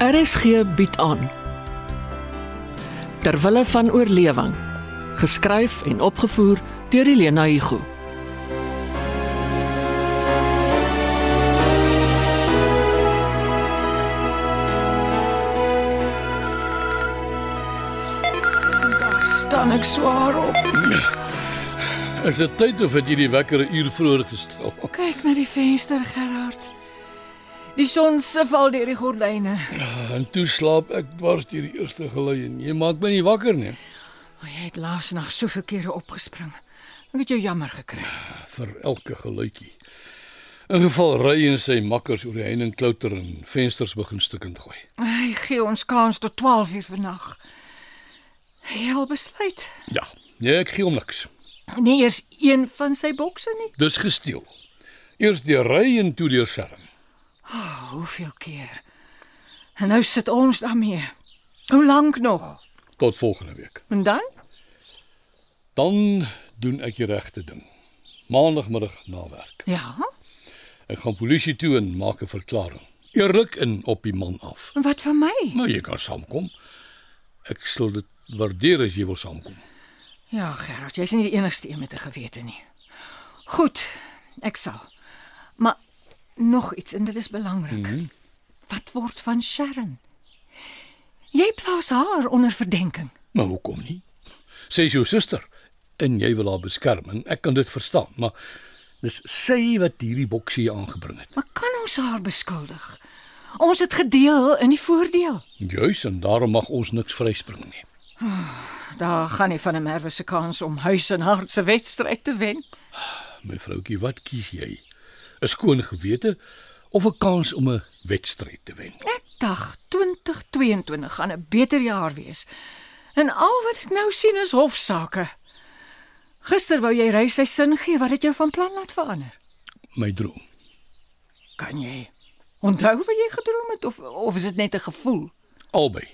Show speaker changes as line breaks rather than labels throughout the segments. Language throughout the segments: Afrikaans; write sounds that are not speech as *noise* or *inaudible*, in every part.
RSG bied aan Terwille van oorlewing geskryf en opgevoer deur Elena Igu
staan ek swaar op.
Is dit tyd of het jy die wekker 'n uur vroeër gestel? *laughs*
Kyk na die venster, Gerard. Die son se val deur die gordyne.
En toe slaap ek dwars deur die eerste gelei en jy maak my nie wakker nie.
O, jy het laas nag soveel kere opgespring. Ek het jou jammer gekry.
Vir elke geluitjie. In geval ry en sy makkers oor die heining klouter en vensters begin stukkend gooi.
Hy gee ons kans tot 12 uur vannag. Hy het al besluit.
Ja, nee, ek gee hom niks.
Nie eers een van sy bokse nie.
Dis gesteel. Eers deur ry en toe deur skerm.
Hoeveel keer? En nou sit ons daarmee. Hoe lank nog?
Tot volgende week.
En dan?
Dan doen ek die regte ding. Maandagmiddag na werk.
Ja.
Ek gaan polisie toe en maak 'n verklaring. Eerlik en op die man af.
En wat van my?
Maar Nou, jy kan saamkom. Ek sal dit waardeer as jy wil saamkom.
Ja, Gerard, jy's nie die enigste een met 'n gewete nie. Goed, ek sal. Maar nog iets en dit is belangrik. Mm -hmm. Wat word van Sharon? Jy plaas haar onder verdenking.
Maar hoekom nie? Sy is jou suster en jy wil haar beskerm en ek kan dit verstaan, maar dis sy wat hierdie boksie aangebring het.
Maar kan ons haar beskuldig? Ons het gedeel in die voordeel.
Juis en daarom mag ons niks vryspring nie.
Daar gaan nie van 'n merwe se kans om huis en hart se wedstryd te wen.
My vroutjie, wat kies jy? 'n Skoon gewete of 'n kans om 'n wedstryd te wen?
Ek dacht 2022 gaan 'n beter jaar wees. En al wat ek nou sien is hofsaake. Gister wou jy ry sy sin gee, wat het jou van plan laat verander?
My droom.
Kan jy onthou wat jy gedroom het of of is dit net 'n gevoel?
Albei.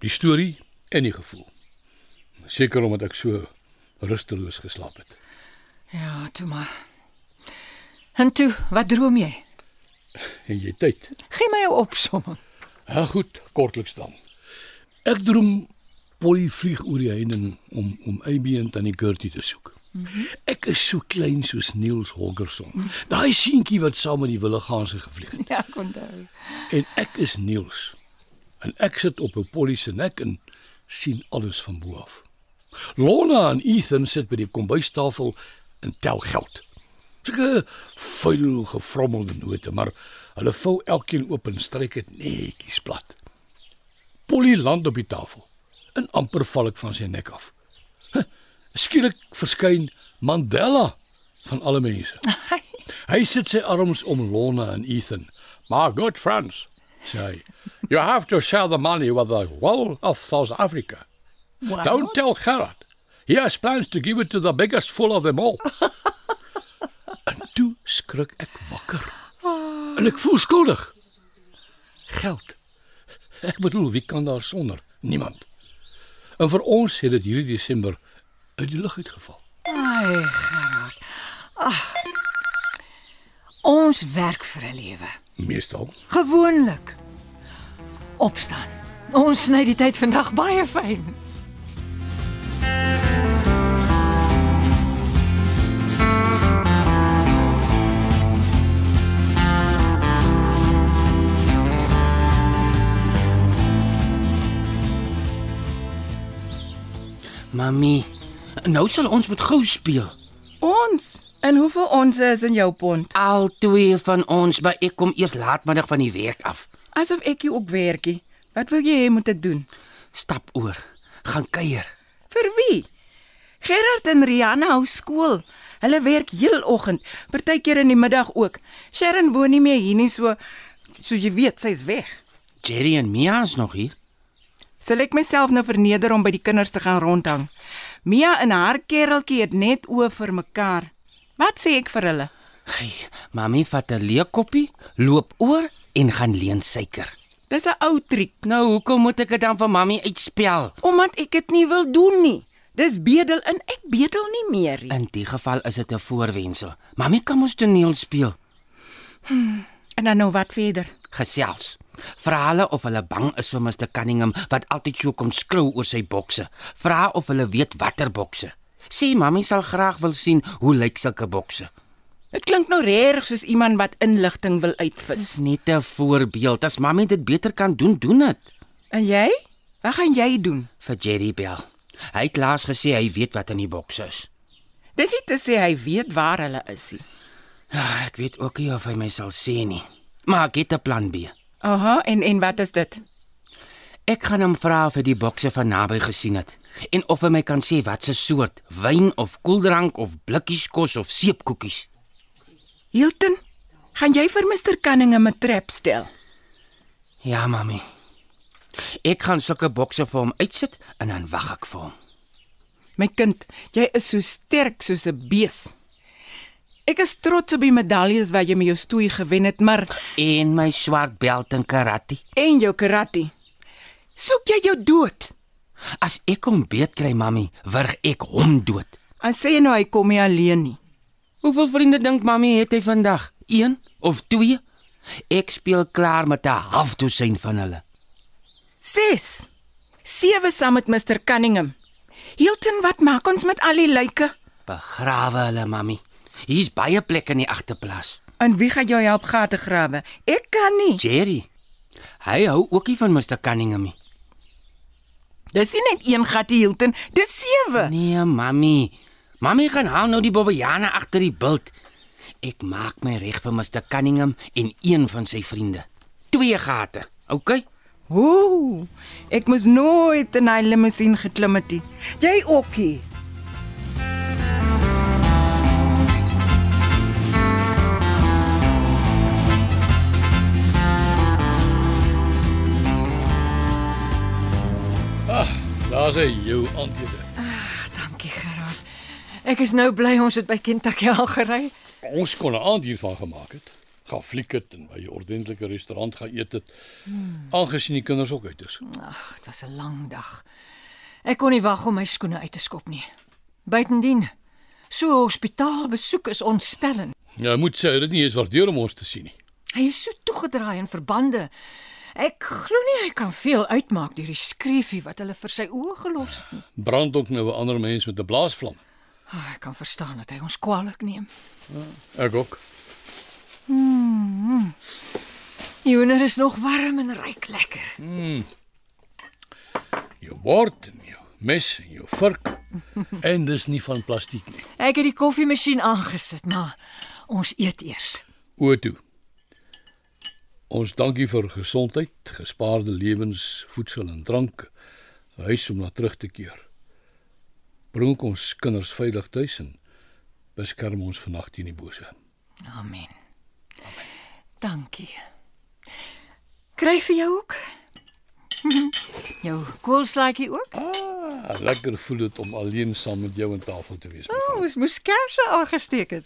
Die storie en die gevoel. Seker omdat ek so rusteloos geslaap het.
Ja, toe maar. En toe, wat droom jy?
En jy tyd.
Gee my jou opsomming.
Ja goed, kortliks dan. Ek droom Polly vlieg oor die heining om om Abby en Tannie Gertie te soek. Ek is so klein soos Niels Holgersson. Daai seentjie wat saam met die wildegaanse gevlieg het.
*laughs* Ja, ek onthou.
En ek is Niels. En ek sit op 'n Polly se nek en sien alles van bo af. Lona en Ethan sit by die kombuistafel en tel geld. Sulke vuil gefrommelde note, maar hulle vou elkeen oop en stryk dit netjies plat. Polly land op die tafel en amper val ek van sy nek af. Huh, Skielik verskyn Mandela van alle mense. Hy sit sy arms om Lona en Ethan. "My good friends," sê hy, "you have to share the money with the whole of South Africa.
Wow.
Don't tell Gerard. He has plans to give it to the biggest fool of them all." en toe skrik ek wakker. En ek voel skuldig. Geld. Ek bedoel, wie kan daar sonder? Niemand. En vir ons het dit hierdie Desember uit die lug uitgeval.
Ai, Gerard. Ag. Ons werk vir 'n lewe.
Meestal.
Gewoonlik. Opstaan. Ons sny die tyd vandag baie fyn.
Mamy, nou sal ons met gou speel.
Ons. En hoeveel ons is in jou pond?
Al twee van ons, maar ek kom eers laatmiddag van die werk af.
Asof ek hier op werkie. Wat wil jy hê moet ek doen?
Stap oor, gaan kuier.
Vir wie? Gerard en Rihanna hou skool. Hulle werk heeloggend, partykeer in die middag ook. Sharon woon nie meer hier nie, so soos jy weet, sy's weg.
Jerry en Mia is nog hier.
Sal ek myself nou verneder om by die kinders te gaan rondhang? Mia en haar kereltjie het net oë vir mekaar. Wat sê ek vir hulle?
Hey, Mamy vat 'n leekoppie, loop oor en gaan leen suiker.
Dis 'n ou triek,
Nou, hoekom moet ek dit dan vir Mamy uitspel?
omdat ek dit nie wil doen nie. Dis bedel en ek bedel nie meer nie.
In die geval is dit 'n voorwendsel. Mamy kan mos toneel speel,
En dan nou wat verder?
gesels. Vra hulle of hulle bang is vir Mr Cunningham wat altyd so kom skrou oor sy bokse. Vra of hulle weet watter bokse. Sê mami sal graag wil sien hoe lyk sulke bokse.
Dit klink nou reg soos iemand wat inligting wil uitvis.
Dis net 'n voorbeeld. As mami dit beter kan doen, doen dit.
En jy? Wat gaan jy doen?
Vir Jerry Bell. Hy het laas gesê hy weet wat in die boks is.
Dis nie te sê hy weet waar hulle is nie.
Ja, ek weet ook nie of hy my sal sê nie. Maar ek het 'n plan B.
Aha, en en wat is dit?
Ek gaan hom vra of hy die bokse van naby gesien het en of hy my kan sê wat se soort wyn of koeldrank of blikkies kos of seepkoekies.
Hilton, gaan jy vir Mr Cunningham 'n trap stel?
Ja, mami. Ek gaan sulke bokse vir hom uitsit en dan wag ek vir hom.
My kind, jy is so sterk soos 'n bees. Ek is trots op die medaljes wat jy met jou stoei gewen het, maar
En my swart belt in karate.
en jou karate. Soek jy jou dood?
As ek hom beet kry, mami, wurg ek hom dood.
En sê jy nou hy kom nie alleen nie.
Hoeveel vriende dink mami het hy vandag? 1 of 2? Ek speel klaar met 'n half dosyn van hulle.
6. 7 saam met Mr Cunningham. Hilton, wat maak ons met al die lyke?
Begrawe hulle, mami. Hier's baie plek in die agterplaas.
En wie gaan jou help gate grawe? Ek kan nie.
Jerry. Hy hou ookie van Mr Cunningham. nie.
Dis nie net een gat hier Hilton, dis sewe.
Nee, mami. Mami gaan haal nou die bobbejane agter die bult. Ek maak my reg vir Mr Cunningham en een van sy vriende. Twee gate. OK?
Ooh, ek moes nooit in hy limousine geklim het nie. Jy ook nie.
Daar's hy jou antwoord.
Dankie Gerard. Ek is nou bly ons het by Kentucky al gery.
Ons kon 'n aand hiervan gemaak het. Gaan fliek het en by 'n ordentlike restaurant gaan eet het. Aangesien die kinders ook uit is.
Ag, dit was 'n lang dag. Ek kon nie wag om my skoene uit te skop nie. Buitendien, so 'n hospitaalbesoek is ontstellend.
Ja, ek moet sê dit nie eens waardeer om ons te sien nie.
Hy is so toegedraai in verbande. Ek glo nie hy kan veel uitmaak deur die skreefie wat hulle vir sy oë gelos het nie.
Brand ook nou 'n ander mens met 'n blaasvlam.
Ah, ek kan verstaan dat hy ons kwaadlik neem.
Ek ook.
Joner is nog warm en ryk lekker.
Jou bord en jou mes en jou vork. en dis nie van plastiek nie.
Ek het die koffiemasjien aangesit, maar ons eet eers.
O toe. Ons dankie vir gesondheid, gespaarde lewens, voedsel en drank. 'n Huis om na terug te keer. Bring ook ons kinders veilig tuis en beskerm ons vannag teen die bose.
Amen. Dankie. Kry vir jou ook. *laughs* jou koolslaaitjie ook?
Ah, lekker voel dit om alleen saam met jou aan tafel te wees. Oh.
Ons moes kersse aangesteek het.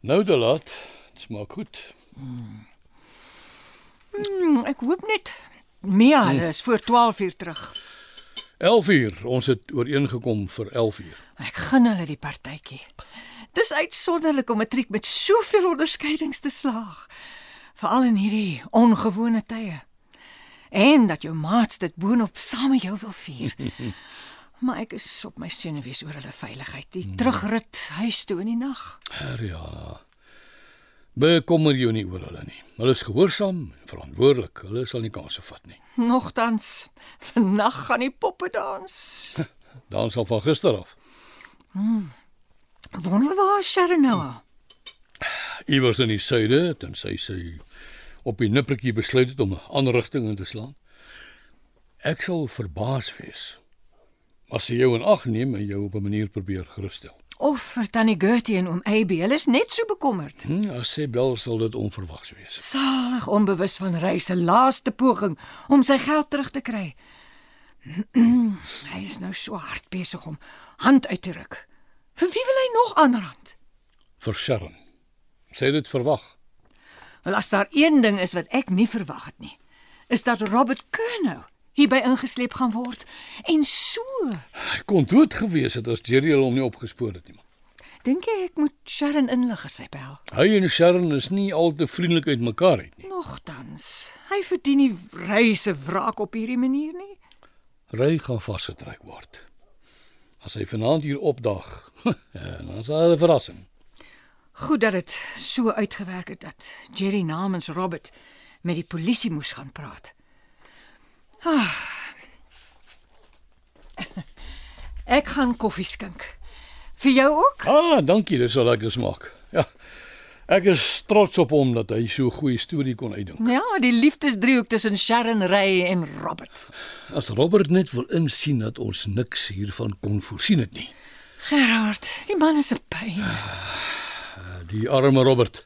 Nou te laat. Dit smaak goed.
Hm, ek hoop net Mia hulle is voor 12 uur terug.
11 uur. Ons het ooreengekom vir 11 uur.
Ek gun hulle die partytjie. Dis uitsonderlik om matriek met soveel onderskeidings te slaag, veral in hierdie ongewone tye. En dat jou maats dit boonop saam met jou wil vier. maar ek is op my senuwees oor hulle veiligheid. Die terugrit huis toe in die nag.
Ariana. ja. Bekommer jou nie oor hulle nie. Hulle is gehoorsaam en verantwoordelik. Hulle sal nie kanse vat nie.
Nogtans, vannag gaan die poppe dans.
Dan sal van gister af
Wonder waar is Sharon nou al?
iewers in die suide tensy sy op die nippertjie besluit het om 'n ander rigting in te slaan. Ek sal verbaas wees as sy jou in ag neem en jou op 'n manier probeer gerusstel.
Of vir tannie Gertie en oom Abby, hulle is net so bekommerd.
Hm, as sy bel sal dit onverwags wees.
Salig onbewus van Rey se laaste poging om sy geld terug te kry. *clears throat* hy is nou so hard besig om hand uit te ruk. Vir wie wil hy nog aanrand?
Vir Sharon. Sy het dit verwag.
Wel as daar een ding is wat ek nie verwag het nie, is dat Robert Kernow hierby ingesleep gaan word en so.
Hy kon dood gewees het as Jerry hom nie opgespoor het nie. man.
Dink jy ek moet Sharon inlig as hy bel?
Hy en Sharon is nie al te vriendelik uit mekaar uit nie.
Nogtans, hy verdien nie reise wraak op hierdie manier nie.
Ry gaan vasgetrek word. As hy vanaand hier opdaag, *laughs* en dan is daar 'n verrassing.
Goed dat dit so uitgewerk het dat Jerry namens Robert met die polisie moes gaan praat. Ah. *laughs* Ek gaan koffie skink. Vir jou ook?
Ah, dankie, dis so lekker smaak. Ja. Ek is trots op hom dat hy so 'n goeie storie kon uitdink.
Ja, die liefdesdriehoek tussen Sharon Ray en Robert.
As Robert net wil insien dat ons niks hiervan kon voorsien het nie.
Gerard, die man is 'n pyn.
Ja, Die arme Robert.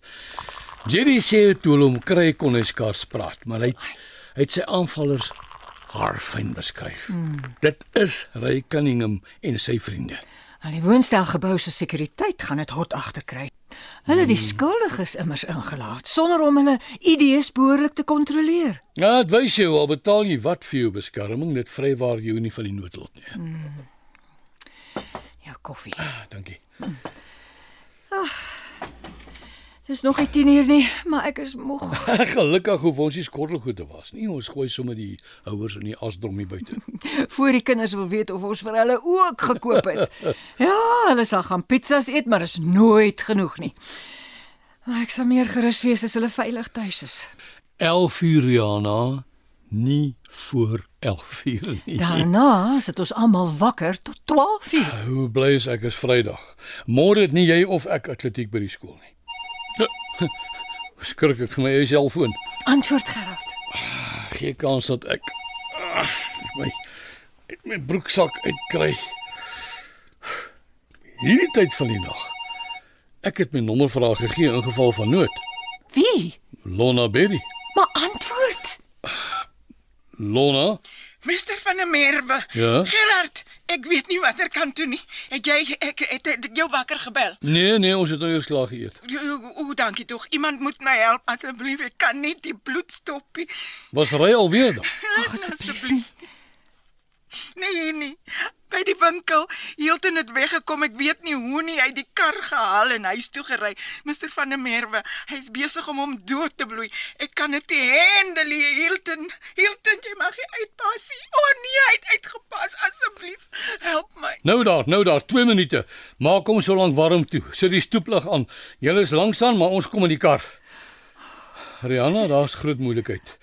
Jerry sê toe hulle hom kry kon hy skaars praat, maar hy het, hy het sy aanvallers haarfyn beskryf. Mm. Dit is Ray Cunningham en sy vriende.
Al die woonstelgebou se sekuriteit gaan dit hot agterkry. Hulle het die skuldiges immers ingelaat sonder om hulle idees behoorlik te kontroleer.
Ja, dit wys jou al betaal jy wat vir jou beskerming, dit vrywaar jou nie van die noodlot nie. Mm.
Jou koffie.
Dankie.
Dis nog nie 10 uur nie, maar ek is moeg. *laughs*
*laughs* Gelukkig hoef ons nie skottelgoed te was nie. Ons gooi sommer die houers in die asdrom hier buite.
Voor die kinders wil weet of ons vir hulle ook gekoop het. Ja, hulle sal gaan pizzas eet, maar is nooit genoeg nie. Maar ek sal meer gerus wees as hulle veilig tuis is.
11 uur Jana, nie voor 11 uur nie.
Daarna sit ons almal wakker tot 12 uur.
Hoe bly is ek is Vrydag. Môre het nie jy of ek atletiek by die skool nie. *laughs* Skrik ek vir my eie selfoon.
Antwoord Gerard.
Geen kans dat ek ah, my uit my broeksak uitkry. Hierdie tyd van die nag. Ek het my nommer vir haar gegee in geval van nood.
Wie?
Lona Berry.
Maar antwoord.
Lona?
Meester van der Merwe.
Ja?
Gerard, ek weet nie watter kant toe nie. Het jy ek het, het jou wakker gebel?
Nee, nee, ons het nou eers klaar geëet.
O, dankie tog. Iemand moet my help asseblief. Ek kan nie die bloed stop nie.
Was ry alweer dan?
Ag asseblief. Nee nee. By die winkel hielten dit weggekom. Ek weet nie hoe nie. Hy het die kar gehaal en huis toe gery. Mr van der Merwe, hy's besig om hom dood te bloei. Ek kan dit nie handel nie. Hielten, hielten jy mag nie uitpas nie. O oh, nee, hy het uitgepas. Asseblief, help my.
Nou daar, nou daar, 2 minute. Maak hom so lank warm toe. Sit die stoeplig aan. Julle is langsaan, maar ons kom in die kar. Rihanna, daar's groot moeilikheid.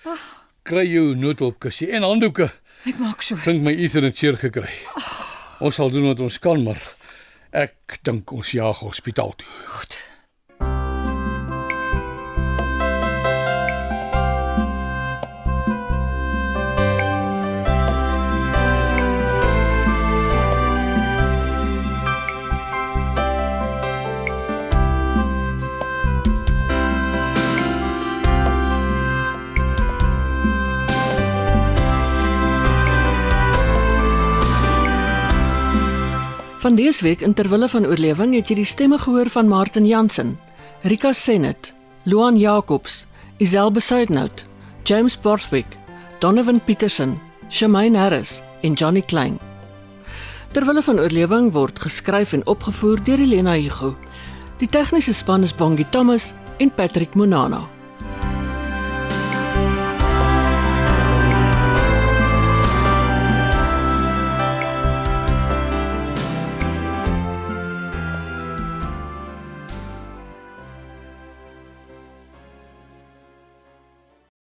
Kry jou noodhulpkussie en handdoeke.
Ek maak so.
Klink my Ethan het seer gekry. Ons sal doen wat ons kan, maar ek dink ons jaag hospitaal toe.
Goed.
Van dese week in terwille van oorlewing het jy die stemme gehoor van Martin Jansen, Rika Senet, Luan Jacobs, Isel Besaidnout, James Borthwick, Donovan Petersen, Shamaine Harris en Johnny Klein. Terwille van oorlewing word geskryf en opgevoer deur Elena Igu. Die tegniese span is Bongie Thomas en Patrick Monano.